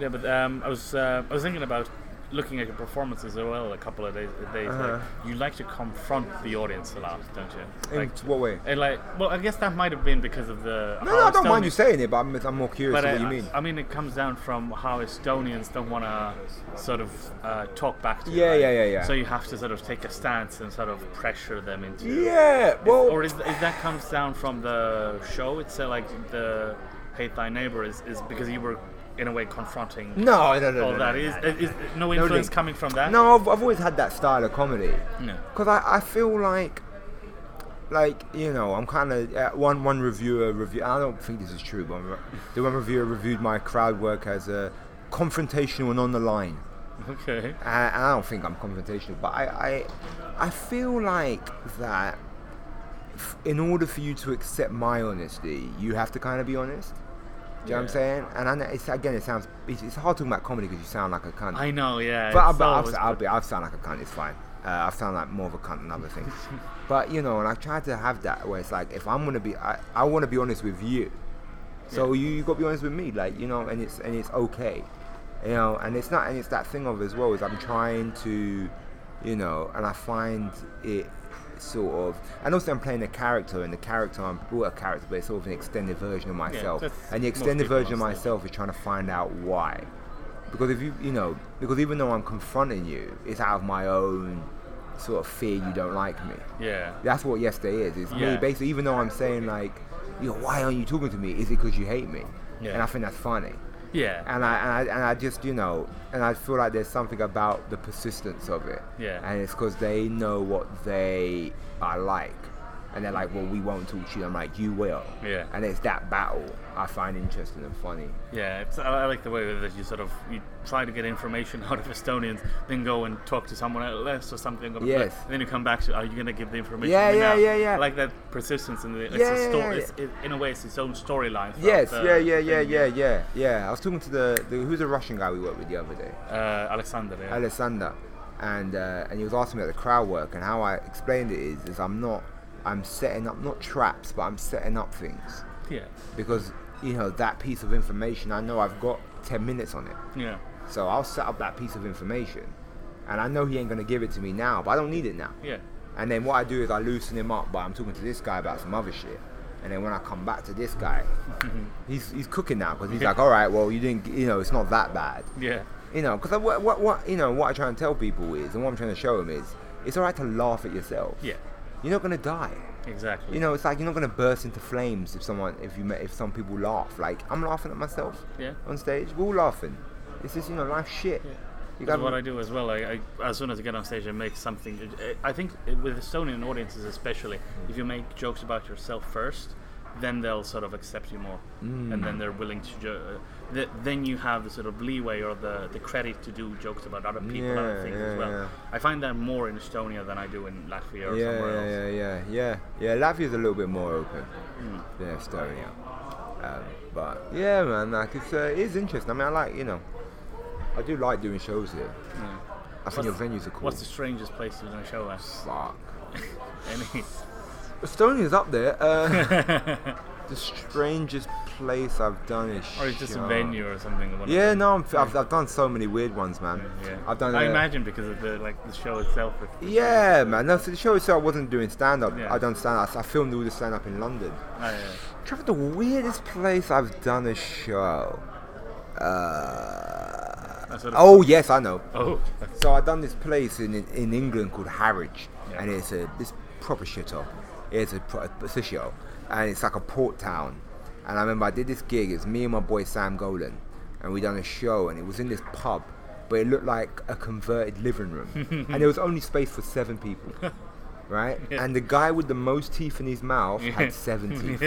Speaker 3: Yeah, but um, I was uh, I was thinking about looking at your performances as well. A couple of days, days
Speaker 4: Uh-huh.
Speaker 3: like, you like to confront the audience a lot, don't you?
Speaker 4: In
Speaker 3: Like, uh,
Speaker 4: what way?
Speaker 3: and like, well, I guess that might have been because of the.
Speaker 4: No,
Speaker 3: how
Speaker 4: no, I don't mind
Speaker 3: Estonians-
Speaker 4: you saying it, but I'm, I'm more curious
Speaker 3: But uh,
Speaker 4: of what
Speaker 3: I,
Speaker 4: you mean.
Speaker 3: I mean, it comes down from how Estonians don't want to sort of uh, talk back to you.
Speaker 4: Yeah,
Speaker 3: right?
Speaker 4: yeah, yeah, yeah.
Speaker 3: So you have to sort of take a stance and sort of pressure them into.
Speaker 4: yeah. Well,
Speaker 3: Or is, is that comes down from the show? It's uh, like the hate thy neighbor is, is because you were in a way confronting
Speaker 4: no, no, no, no.
Speaker 3: Oh,
Speaker 4: no,
Speaker 3: that
Speaker 4: no,
Speaker 3: is,
Speaker 4: no.
Speaker 3: is, is no influence
Speaker 4: link.
Speaker 3: coming from that.
Speaker 4: No, I've, I've always had that style of comedy.
Speaker 3: No.
Speaker 4: Because I, I feel like, like you know, I'm kind of uh, one one reviewer review. I don't think this is true, but I'm- the one reviewer reviewed my crowd work as uh, confrontational and on the line.
Speaker 3: Okay.
Speaker 4: I, I don't think I'm confrontational, but I, I, I feel like that f- in order for you to accept my honesty, you have to kind of be honest. Do you know what I'm
Speaker 3: Yeah.
Speaker 4: saying? And I know it's, again, it sounds it's, it's hard talking about comedy because you sound like a cunt.
Speaker 3: I know. Yeah.
Speaker 4: but I,
Speaker 3: it's
Speaker 4: but I've,
Speaker 3: always-
Speaker 4: I'll be, I've sound like a cunt. It's fine. Uh, I've sound like more of a cunt than other things. but you know, and I try to have that where it's like if I'm gonna be, I, I want to be honest with you. So you you got to be honest with me, like you know, and it's and it's okay, you know, and it's not and it's that thing of as well is I'm trying to, you know, and I find it sort of, and also I'm playing a character, and the character I'm well, a character, but it's sort of an extended version of myself,
Speaker 3: that's
Speaker 4: and the
Speaker 3: most
Speaker 4: extended
Speaker 3: people
Speaker 4: version of
Speaker 3: understand.
Speaker 4: myself is trying to find out why, because if you you know, because even though I'm confronting you, it's out of my own sort of fear you don't like me.
Speaker 3: yeah.
Speaker 4: That's what yesterday is. It's
Speaker 3: Yeah.
Speaker 4: me basically, even though I'm saying like, you know, why aren't you talking to me? Is it because you hate me?
Speaker 3: Yeah.
Speaker 4: And I think that's funny.
Speaker 3: Yeah.
Speaker 4: And I, and I and I just you know, and I feel like there's something about the persistence of it.
Speaker 3: Yeah.
Speaker 4: And it's because they know what they are like, and they're like, well, we won't talk to you. I'm like, you will.
Speaker 3: Yeah.
Speaker 4: And it's that battle I find interesting and funny.
Speaker 3: Yeah. It's, I I like the way that you sort of you try to get information out of Estonians, then go and talk to someone else or something. about
Speaker 4: Yes.
Speaker 3: that, then you come back to, are you gonna give the information?
Speaker 4: Yeah,
Speaker 3: to me
Speaker 4: yeah,
Speaker 3: now?
Speaker 4: yeah, yeah.
Speaker 3: I like that persistence in the. It's
Speaker 4: Yeah,
Speaker 3: a
Speaker 4: yeah,
Speaker 3: sto-
Speaker 4: yeah,
Speaker 3: It's, it, in a way, it's its own storyline. throughout
Speaker 4: Yes.
Speaker 3: the
Speaker 4: Yeah. Yeah. Yeah.
Speaker 3: thing.
Speaker 4: Yeah. Yeah. Yeah. I was talking to the, the who's the Russian guy we worked with the other day.
Speaker 3: Uh, Alexander. Yeah.
Speaker 4: Alexander, and uh, and he was asking me about the crowd work and how I explained it is is I'm not I'm setting up not traps but I'm setting up things
Speaker 3: yeah.
Speaker 4: because you know that piece of information I know I've got ten minutes on it
Speaker 3: Yeah.
Speaker 4: so I'll set up that piece of information and I know he ain't gonna give it to me now but I don't need it now
Speaker 3: Yeah.
Speaker 4: and then what I do is I loosen him up but I'm talking to this guy about some other shit. And then when I come back to this guy, he's, he's cooking now because he's like, all right, well, you didn't, you know, it's not that bad.
Speaker 3: Yeah.
Speaker 4: You know, because what, what, what, you know, what I try and tell people is, and what I'm trying to show them is, it's all right to laugh at yourself.
Speaker 3: Yeah.
Speaker 4: You're not gonna die.
Speaker 3: Exactly.
Speaker 4: You know, it's like you're not gonna burst into flames if someone, if you, ma- if some people laugh. Like I'm laughing at myself
Speaker 3: Yeah.
Speaker 4: on stage. We're all laughing. It's just, you know, life's shit. You
Speaker 3: That's
Speaker 4: gotta-
Speaker 3: what I do as well. I, I, as soon as I get on stage, I make something. I think with Estonian audiences, especially, if you make jokes about yourself first, then they'll sort of accept you more,
Speaker 4: Mm.
Speaker 3: and then they're willing to. Jo- uh, th- then you have the sort of leeway or the, the credit to do jokes about other people,
Speaker 4: Yeah,
Speaker 3: other things
Speaker 4: yeah,
Speaker 3: as well.
Speaker 4: yeah.
Speaker 3: I find that more in Estonia than I do in Latvia or
Speaker 4: yeah,
Speaker 3: somewhere else. Hmm.
Speaker 4: yeah, yeah, yeah, yeah. Latvia's a little bit more open than Estonia, um, but yeah, man, like it's uh, it is interesting. I mean, I like you know, I do like doing shows here. I think
Speaker 3: What's-
Speaker 4: the venues are cool.
Speaker 3: What's the strangest place you've done a show at?
Speaker 4: Fuck.
Speaker 3: Any?
Speaker 4: Estonia's up there. Uh, the strangest place I've done is.
Speaker 3: Or it's just
Speaker 4: show.
Speaker 3: a venue or something. one of
Speaker 4: Yeah,
Speaker 3: the-
Speaker 4: no, I'm, I've, I've done so many weird ones, man.
Speaker 3: Yeah.
Speaker 4: I've done.
Speaker 3: I
Speaker 4: uh,
Speaker 3: imagine because of the like the show itself. it-
Speaker 4: Yeah, man. No, so the show itself, I wasn't doing stand up.
Speaker 3: Yeah.
Speaker 4: I done stand up. I filmed all the stand up in London.
Speaker 3: Ah, yeah.
Speaker 4: Trevor, the weirdest place I've done a show. Uh,
Speaker 3: I sort of-
Speaker 4: oh yes, I know.
Speaker 3: Oh.
Speaker 4: So I done this place in in England called Harwich,
Speaker 3: Yeah.
Speaker 4: and it's a this proper shithole. It's a pro- it's a shithole, and it's like a port town. And I remember I did this gig. It's me and my boy Sam Golan, and we done a show, and it was in this pub, but it looked like a converted living room, and there was only space for seven people. Right, and the guy with the most teeth in his mouth had seven teeth.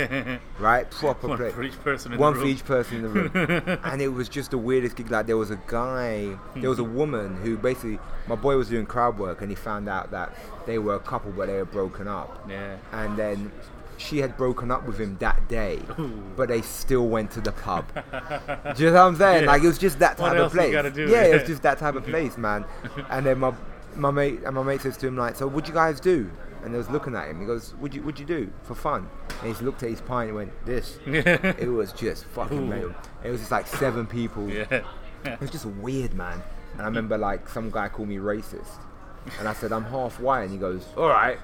Speaker 4: Right, proper
Speaker 3: One
Speaker 4: place
Speaker 3: for each person in
Speaker 4: one
Speaker 3: the
Speaker 4: for
Speaker 3: room.
Speaker 4: each person in the room. and it was just the weirdest gig. Like there was a guy, there was a
Speaker 3: Hmm.
Speaker 4: woman who basically, my boy was doing crowd work, and he found out that they were a couple, but they were broken up.
Speaker 3: Yeah.
Speaker 4: And then she had broken up with him that day, but they still went to the pub. do you know what I'm saying? Like it was just that
Speaker 3: What
Speaker 4: type
Speaker 3: else
Speaker 4: of
Speaker 3: you
Speaker 4: place.
Speaker 3: gotta do?
Speaker 4: Yeah, it was
Speaker 3: Yeah.
Speaker 4: just that type of place, man. And then my my mate and my mate says to him like, "So what'd you guys do?" And I was looking at him. He goes, "Would you would you do for fun?" And he looked at his pint and went, "This." it was just fucking mental. It was just like seven people.
Speaker 3: Yeah.
Speaker 4: It was just weird, man. And I remember like some guy called me racist, and I said I'm half white, and he goes, "All right."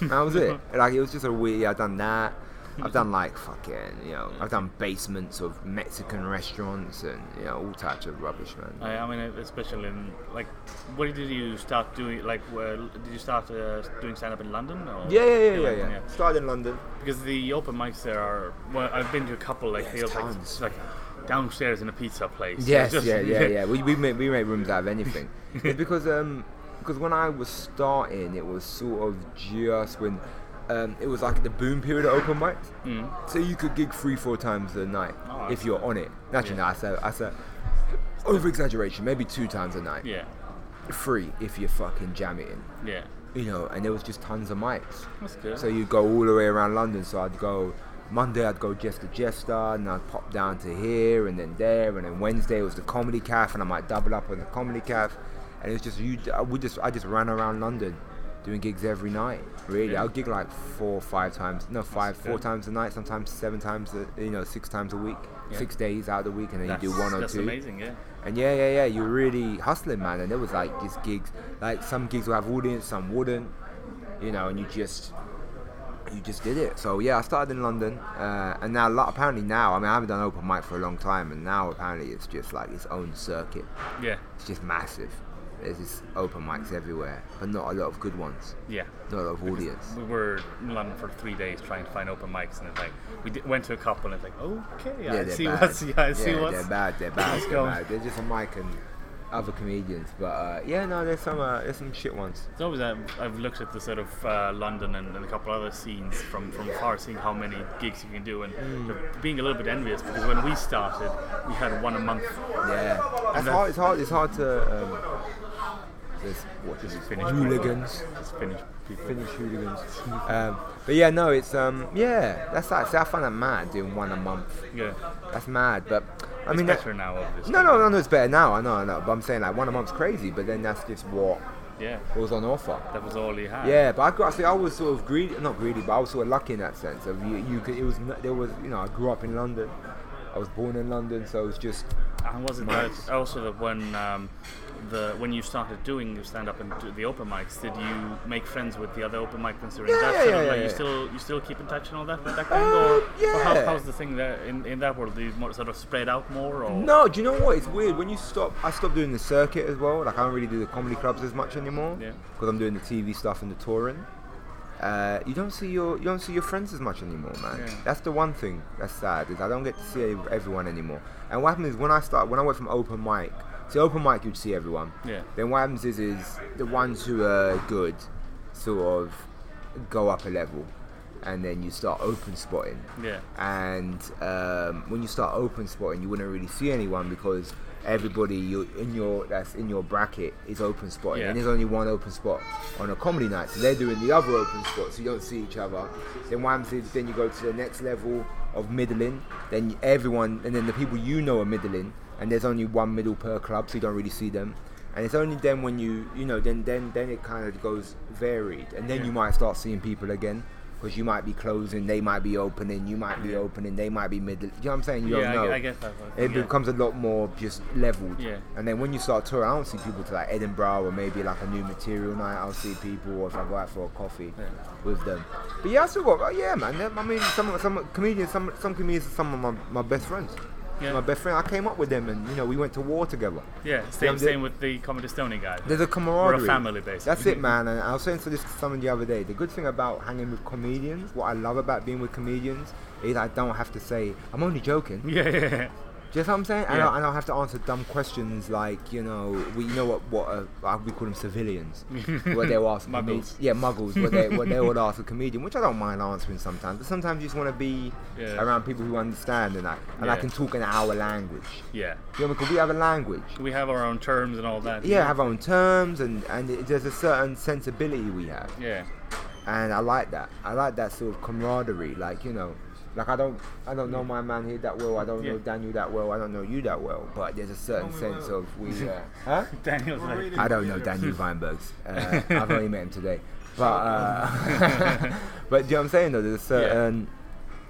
Speaker 4: And that was it. Like it was just a weird. yeah, I've done that. I've done like fucking, you know, I've done basements of Mexican restaurants and you know all types of rubbish, man.
Speaker 3: I, I mean, especially in like, what did you start doing? Like, where, did you start uh, doing stand up in London? Or
Speaker 4: Yeah, yeah, yeah, yeah,
Speaker 3: London,
Speaker 4: yeah. Started in London.
Speaker 3: Because the open mics there are. Well, I've been to a couple. Like,
Speaker 4: Yes,
Speaker 3: they have, like,
Speaker 4: tons.
Speaker 3: like downstairs in a pizza place. It's
Speaker 4: Yes,
Speaker 3: just-
Speaker 4: yeah, yeah, yeah. We, we make we make rooms out of anything. it's because um because when I was starting, it was sort of just when um it was like the boom period of open mics. Mm. So you could gig three four times a night
Speaker 3: Oh,
Speaker 4: if you're on it. Naturally,
Speaker 3: Yeah.
Speaker 4: no, I said I said over exaggeration, maybe two times a night.
Speaker 3: Yeah.
Speaker 4: Three if you're fucking jamming.
Speaker 3: Yeah.
Speaker 4: You know, and there was just tons of mics.
Speaker 3: That's good.
Speaker 4: So you'd go all the way around London. So I'd go Monday, I'd go Jester Jester, and I'd pop down to here and then there, and then Wednesday was the Comedy Calf, and I might double up on the Comedy Calf, and it was just you. I would just I just ran around London, doing gigs every night. Really,
Speaker 3: Yeah.
Speaker 4: I'll gig like four, five times, no five, four
Speaker 3: good.
Speaker 4: times a night, sometimes seven times, a, you know, six times a week,
Speaker 3: Yeah.
Speaker 4: six days out of the week, and then you do one or
Speaker 3: that's
Speaker 4: two.
Speaker 3: amazing. Yeah.
Speaker 4: And yeah, yeah, yeah, you're really hustling, man. And there was like just gigs, like some gigs will have audience, some wouldn't, you know. And you just, you just did it. So yeah, I started in London, uh, and now lo- apparently now, I mean, I haven't done open mic for a long time, and now apparently it's just like its own circuit.
Speaker 3: Yeah.
Speaker 4: It's just massive. There's just open mics everywhere, but not a lot of good ones,
Speaker 3: Yeah.
Speaker 4: not a lot of audience.
Speaker 3: We were in London for three days trying to find open mics, and it's like we d- went to a couple, and it's like, okay, I
Speaker 4: they're
Speaker 3: see
Speaker 4: bad.
Speaker 3: what's, yeah, I see
Speaker 4: yeah,
Speaker 3: what's.
Speaker 4: They're bad. They're bad.
Speaker 3: what's
Speaker 4: They're
Speaker 3: going.
Speaker 4: bad. They're just a mic and other comedians, but uh, yeah, no, there's some, uh, there's some shit ones.
Speaker 3: It's always I've, I've looked at the sort of uh, London and, and a couple other scenes from, from far, seeing how many gigs you can do, and sort of being a little bit envious because when we started, we had one a month.
Speaker 4: Yeah,
Speaker 3: And
Speaker 4: it's
Speaker 3: then-
Speaker 4: hard. It's hard. It's hard to. Um, there's what is it?
Speaker 3: Finnish
Speaker 4: hooligans.
Speaker 3: It's Finnish people.
Speaker 4: Finnish hooligans. Um, but yeah, no, it's um, yeah, that's that. See, I find that mad doing one a month.
Speaker 3: Yeah,
Speaker 4: That's mad, but I mean,
Speaker 3: it's
Speaker 4: that,
Speaker 3: better now, obviously.
Speaker 4: no, no, no, no, it's better now. I know, I know. But I'm saying like one a month's crazy, but then that's just what
Speaker 3: Yeah,
Speaker 4: was on offer.
Speaker 3: that was all he had.
Speaker 4: Yeah, but I got. See, I was sort of greedy, not greedy, but I was sort of lucky in that sense. Of you, you could. It was. n- There was. You know, I grew up in London. I was born in London, so it was just.
Speaker 3: And was it
Speaker 4: Mics.
Speaker 3: that also that when um, the when you started doing stand up and do the open mics, did you make friends with the other open micers during
Speaker 4: Yeah,
Speaker 3: that?
Speaker 4: yeah,
Speaker 3: sort of like
Speaker 4: yeah, yeah,
Speaker 3: You
Speaker 4: yeah.
Speaker 3: still you still keep in touch and all that with that
Speaker 4: Uh,
Speaker 3: kind or, or how,
Speaker 4: yeah.
Speaker 3: how's the thing there in, in that world? Do you more, sort of spread out more or
Speaker 4: No, do you know what? It's weird when you stop. I stopped doing the circuit as well. Like I don't really do the comedy clubs as much anymore
Speaker 3: Yeah.
Speaker 4: because I'm doing the TV stuff and the touring. Uh, you don't see your you don't see your friends as much anymore, man.
Speaker 3: Yeah.
Speaker 4: That's the one thing that's sad is I don't get to see ev- everyone anymore. And what happens is when I start when I went from open mic, see open mic you'd see everyone.
Speaker 3: Yeah.
Speaker 4: Then what happens is is the ones who are good sort of go up a level. and then you start open spotting.
Speaker 3: Yeah.
Speaker 4: And um, when you start open spotting, you wouldn't really see anyone because everybody you in your that's in your bracket is open spotting,
Speaker 3: Yeah.
Speaker 4: and there's only one open spot on a comedy night. So they're doing the other open spot, so you don't see each other. Then what happens is then you go to the next level of middling. Then everyone, and then the people you know are middling, and there's only one middle per club, so you don't really see them. And it's only then when you you know then then then it kind of goes varied, and then you might start seeing people again. Because you might be closing, they might be opening, you might be opening, they might be middle. You know what I'm saying? You
Speaker 3: yeah,
Speaker 4: don't know
Speaker 3: I, I guess that's what
Speaker 4: it
Speaker 3: yeah.
Speaker 4: becomes a lot more just leveled.
Speaker 3: Yeah.
Speaker 4: And then when you start touring, I don't see people to like Edinburgh or maybe like a new material night. I'll see people, or if I go out for a coffee
Speaker 3: Yeah.
Speaker 4: with them. But yeah, I still got, oh, yeah, man. them- I mean, some some comedians, some some comedians, are some of my, my best friends.
Speaker 3: Yeah.
Speaker 4: My best friend, I came up with them, and you know, we went to war together.
Speaker 3: Yeah, same,
Speaker 4: I'm
Speaker 3: same
Speaker 4: the-
Speaker 3: with the Comedy Stony guy.
Speaker 4: There's a camaraderie.
Speaker 3: family, basically.
Speaker 4: That's it, man. And I was saying to this to someone the other day. The good thing about hanging with comedians, what I love about being with comedians, is I don't have to say I'm only joking.
Speaker 3: Yeah, yeah, yeah.
Speaker 4: Do you know what I'm saying? And,
Speaker 3: Yeah.
Speaker 4: I, and I'll have to answer dumb questions like, you know, we you know what what uh, uh, we call them civilians, where they'll ask a comedian,
Speaker 3: Muggles.
Speaker 4: yeah, muggles, where they where they would ask a comedian, which I don't mind answering sometimes, but sometimes you just want to be
Speaker 3: Yeah.
Speaker 4: around people who understand and I and I
Speaker 3: Yeah.
Speaker 4: can talk in our language.
Speaker 3: yeah.
Speaker 4: You know, because we have a language.
Speaker 3: We have our own terms and all that.
Speaker 4: Yeah, have our own terms, and and it, there's a certain sensibility we have
Speaker 3: Yeah.
Speaker 4: and I like that. I like that sort of camaraderie. Like you know, like I don't, I don't know my man here that well. I don't know
Speaker 3: Yeah.
Speaker 4: Daniel that well. I don't know you that well. But there's a certain sense of we, uh, huh?
Speaker 3: Daniel's like,
Speaker 4: I don't know Daniel Weinberg's. Uh, I've only met him today, but uh, but do you know what I'm saying though? There's a certain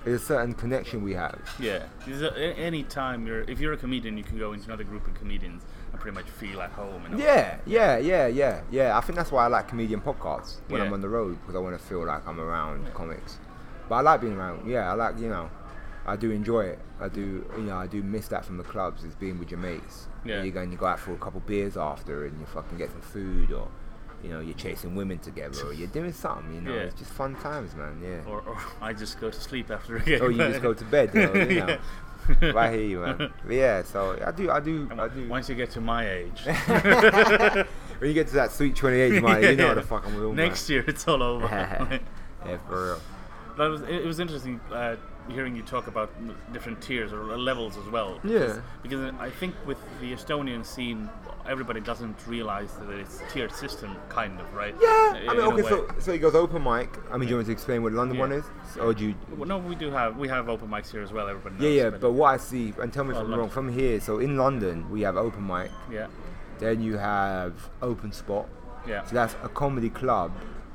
Speaker 4: there's a certain connection we have.
Speaker 3: yeah. There's a- a- any time you're, if you're a comedian, you can go into another group of comedians and pretty much feel at home. And all.
Speaker 4: Yeah, yeah, yeah, yeah, yeah. I think that's why I like comedian podcasts when I'm
Speaker 3: Yeah.
Speaker 4: on the road because I want to feel like I'm around comics. But I like being around. Yeah, I like you know, I do enjoy it. I do you know I do miss that from the clubs is being with your mates.
Speaker 3: Yeah.
Speaker 4: And you go and you go out for a couple beers after and you fucking get some food or. You know, you're chasing women together, or you're doing something. You know,
Speaker 3: Yeah.
Speaker 4: it's just fun times, man. Yeah.
Speaker 3: Or, or I just go to sleep after a game.
Speaker 4: Or, Oh, you just go to bed. You know, you know. But I hear you, man. But yeah. So I do, I do, I do.
Speaker 3: Once you get to my age,
Speaker 4: When you get to that sweet 28, man, you know what the fuck I'm doing.
Speaker 3: next year it's all over.
Speaker 4: yeah, for real.
Speaker 3: That was it. Was interesting uh, hearing you talk about m- different tiers or levels as well. because-
Speaker 4: Yeah.
Speaker 3: Because I think with the Estonian scene, everybody doesn't realize that it's a tiered system, kind of, right?
Speaker 4: Yeah,
Speaker 3: In
Speaker 4: I mean,
Speaker 3: a
Speaker 4: okay,
Speaker 3: way.
Speaker 4: so so he goes open mic. I mean, do you want me to explain what London
Speaker 3: Yeah.
Speaker 4: one is, or Oh, do you?
Speaker 3: Well, no, we do have we have open mics here as well. Everybody.
Speaker 4: Yeah,
Speaker 3: Knows,
Speaker 4: yeah. But what I see, and tell me if
Speaker 3: Oh,
Speaker 4: I'm
Speaker 3: London.
Speaker 4: wrong. From here, so in London we have open mic.
Speaker 3: yeah,
Speaker 4: Then you have open spot.
Speaker 3: yeah,
Speaker 4: So that's a comedy club,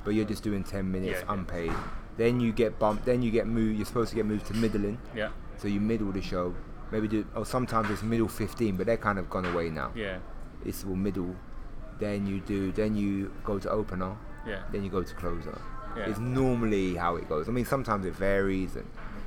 Speaker 4: but you're just doing 10 minutes
Speaker 3: Yeah, yeah.
Speaker 4: unpaid. Then you get bumped. Then you get moved. You're supposed to get moved to middling.
Speaker 3: yeah,
Speaker 4: So you middle the show. Maybe do. Or sometimes it's middle 15, but they're kind of gone away now.
Speaker 3: yeah,
Speaker 4: It's all middle. Then you do. Then you go to opener.
Speaker 3: yeah,
Speaker 4: then you go to closer.
Speaker 3: Yeah.
Speaker 4: It's normally how it goes. I mean, sometimes it varies, and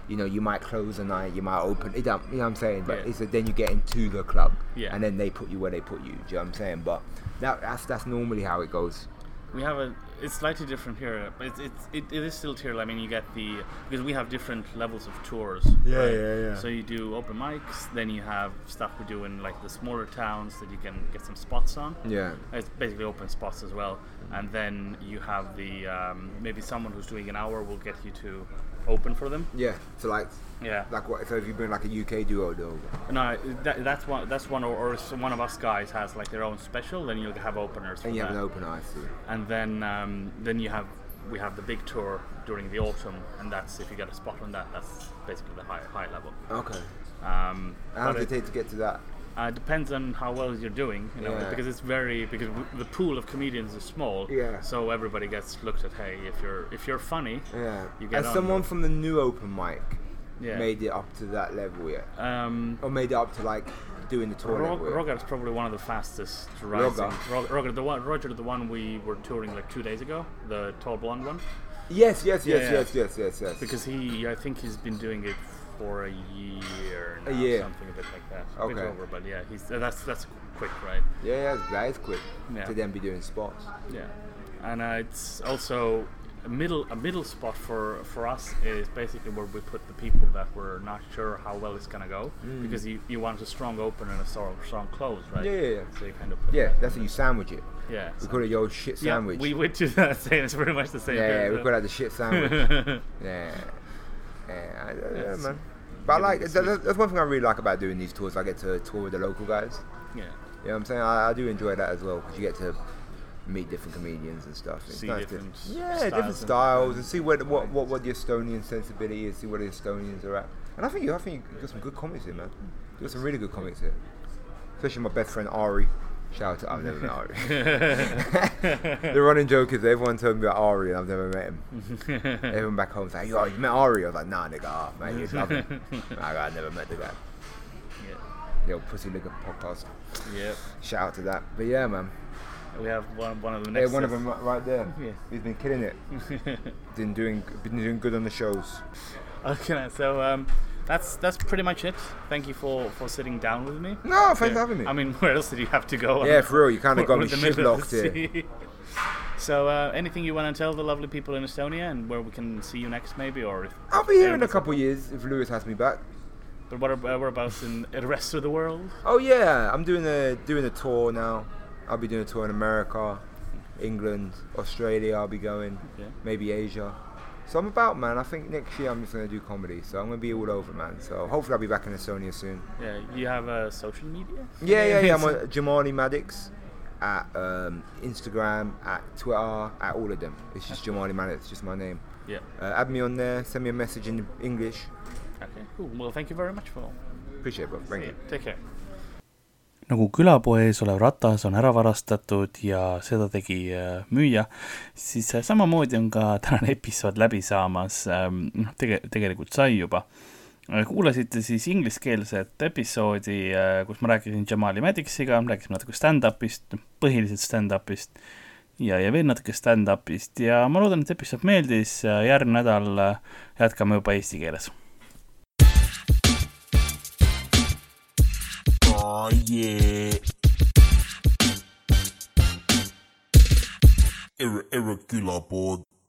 Speaker 4: you know, you might close a night, you might open. It don't, you know what I'm saying? But
Speaker 3: Yeah.
Speaker 4: it's a, then you get into the club,
Speaker 3: Yeah.
Speaker 4: and then they put you where they put you. Do you know what I'm saying? But that, that's that's normally how it goes.
Speaker 3: We have a. It's slightly different here, but it's, it's it, it is still tier. I mean, you get the because we have different levels of tours.
Speaker 4: Yeah, yeah, yeah.
Speaker 3: So you do open mics, then you have stuff we do in like the smaller towns that you can get some spots on.
Speaker 4: Yeah.
Speaker 3: It's basically open spots as well, and then you have the um, maybe someone who's doing an hour will get you to open for them.
Speaker 4: Yeah. So like,
Speaker 3: Yeah.
Speaker 4: like what? So if you bring like a UK duo, though.
Speaker 3: No, that, that's one. That's one, or, or if one of us guys has like their own special. Then you'll have openers. for
Speaker 4: And you have an
Speaker 3: that.
Speaker 4: open eye, see.
Speaker 3: and then um, then you have we have the big tour during the autumn, and that's if you get a spot on that, that's basically the high high level.
Speaker 4: Okay.
Speaker 3: Um, but
Speaker 4: How does it
Speaker 3: it
Speaker 4: take to get to that?
Speaker 3: uh, depends on how well you're doing, you know,
Speaker 4: Yeah.
Speaker 3: because it's very because w- the pool of comedians is small.
Speaker 4: Yeah.
Speaker 3: So everybody gets looked at. Hey, if you're if you're funny,
Speaker 4: Yeah.
Speaker 3: you get
Speaker 4: And
Speaker 3: on.
Speaker 4: someone from the new open mic
Speaker 3: Yeah.
Speaker 4: made it up to that level yet,
Speaker 3: Um,
Speaker 4: or made it up to like doing the tour
Speaker 3: Rog-
Speaker 4: level. yet?
Speaker 3: Roger's probably one of the fastest rising.
Speaker 4: Roger.
Speaker 3: Roger, Roger the one, Roger, the one we were touring like two days ago, the tall blonde one,
Speaker 4: Yes, yes, yes,
Speaker 3: Yeah.
Speaker 4: yes, yes, yes, yes.
Speaker 3: because he, I think he's been doing it for a year, now,
Speaker 4: year.
Speaker 3: something a bit like that. A bit
Speaker 4: Okay.
Speaker 3: over, but yeah, he's uh, that's that's quick, right?
Speaker 4: yeah, yeah, that is quick
Speaker 3: Yeah.
Speaker 4: to then be doing spots.
Speaker 3: Yeah, and uh, it's also a middle a middle spot for for us is basically where we put the people that we're not sure how well it's gonna go because you, you want a strong open and a strong strong close, right?
Speaker 4: Mm. Yeah, yeah, yeah.
Speaker 3: So you kind of put
Speaker 4: Yeah,
Speaker 3: that
Speaker 4: that's how
Speaker 3: in
Speaker 4: you sandwich it.
Speaker 3: the- yeah.
Speaker 4: We
Speaker 3: so-
Speaker 4: call it your shit
Speaker 3: yeah,
Speaker 4: sandwich.
Speaker 3: we would do that. Same. It's pretty much the same.
Speaker 4: yeah,
Speaker 3: here,
Speaker 4: we
Speaker 3: so-
Speaker 4: call that the shit sandwich. Yeah, yeah, I- yeah,
Speaker 3: Yes.
Speaker 4: man. But I
Speaker 3: Give
Speaker 4: like
Speaker 3: it a
Speaker 4: that,
Speaker 3: sweet-
Speaker 4: that- that's one thing I really like about doing these tours. I get to tour with the local guys.
Speaker 3: yeah.
Speaker 4: You know what I'm saying? I, I do enjoy that as well because you get to meet different comedians and stuff. It's
Speaker 3: See
Speaker 4: nice
Speaker 3: different
Speaker 4: to,
Speaker 3: s-
Speaker 4: yeah,
Speaker 3: styles
Speaker 4: different
Speaker 3: and-
Speaker 4: styles and see what what, what what the Estonian sensibility is. See what the Estonians are at. And I think you, I think you got some good comics here, man. You got some really good comics here, especially my best friend Ari. Shout out to I've never met Ari. the running joke is that everyone told me about Ari and I've never met him. Everyone back home's like, yo, you met Ari? I was like, nah, nigga, ah, man, you love him. I, I never met the guy.
Speaker 3: Yeah.
Speaker 4: Yo, pussy nigga podcast.
Speaker 3: Yep.
Speaker 4: Shout out to that. But yeah, man.
Speaker 3: We have one one of the
Speaker 4: Yeah,
Speaker 3: next.
Speaker 4: one of
Speaker 3: sets.
Speaker 4: them ri- right there.
Speaker 3: Yeah.
Speaker 4: He's been killing it. been doing been doing good on the shows.
Speaker 3: Okay, so um, that's that's pretty much it. Thank you for for sitting down with me.
Speaker 4: No, thanks
Speaker 3: Yeah.
Speaker 4: for having me.
Speaker 3: I mean, where else did you have to go?
Speaker 4: yeah, for real, you kind of got
Speaker 3: We're
Speaker 4: me
Speaker 3: in the middle of
Speaker 4: shitlocked
Speaker 3: the
Speaker 4: here.
Speaker 3: sea. So, uh, anything you want to tell the lovely people in Estonia and where we can see you next, maybe, or if,
Speaker 4: I'll be here in a couple years if Lewis has me back.
Speaker 3: but what ab- uh, whereabouts in the rest of the world?
Speaker 4: Oh yeah, I'm doing a doing a tour now. I'll be doing a tour in America, England, Australia. I'll be going,
Speaker 3: Yeah.
Speaker 4: maybe Asia. So I'm about, man. I think next year I'm just gonna do comedy. So I'm gonna be all over, man. So hopefully I'll be back in Estonia soon.
Speaker 3: Yeah, you have uh, social media.
Speaker 4: Yeah, yeah, yeah. I'm on Jamali Maddox at um, Instagram, at Twitter, at all of them. It's just Jamali Maddox, just my name.
Speaker 3: Yeah.
Speaker 4: Uh, add me on there, send me a message in English.
Speaker 3: Okay. Cool. Well, thank you very much for.
Speaker 4: Appreciate it, bro. Thank you.
Speaker 3: Take care.
Speaker 2: nagu külapoe ees olev ratas on ära varastatud ja seda tegi äh, müüja , siis äh, samamoodi on ka tänane episood läbi saamas , noh , tege- , tegelikult sai juba . kuulasite siis ingliskeelset episoodi , kus ma rääkisin Jamali Maddixiga , rääkisime natuke stand-up'ist , põhiliselt stand-up'ist ja , ja veel natuke stand-up'ist ja ma loodan , et episood meeldis , järgmine nädal äh, jätkame juba eesti keeles
Speaker 1: Oh yeah. Ir- irregular board.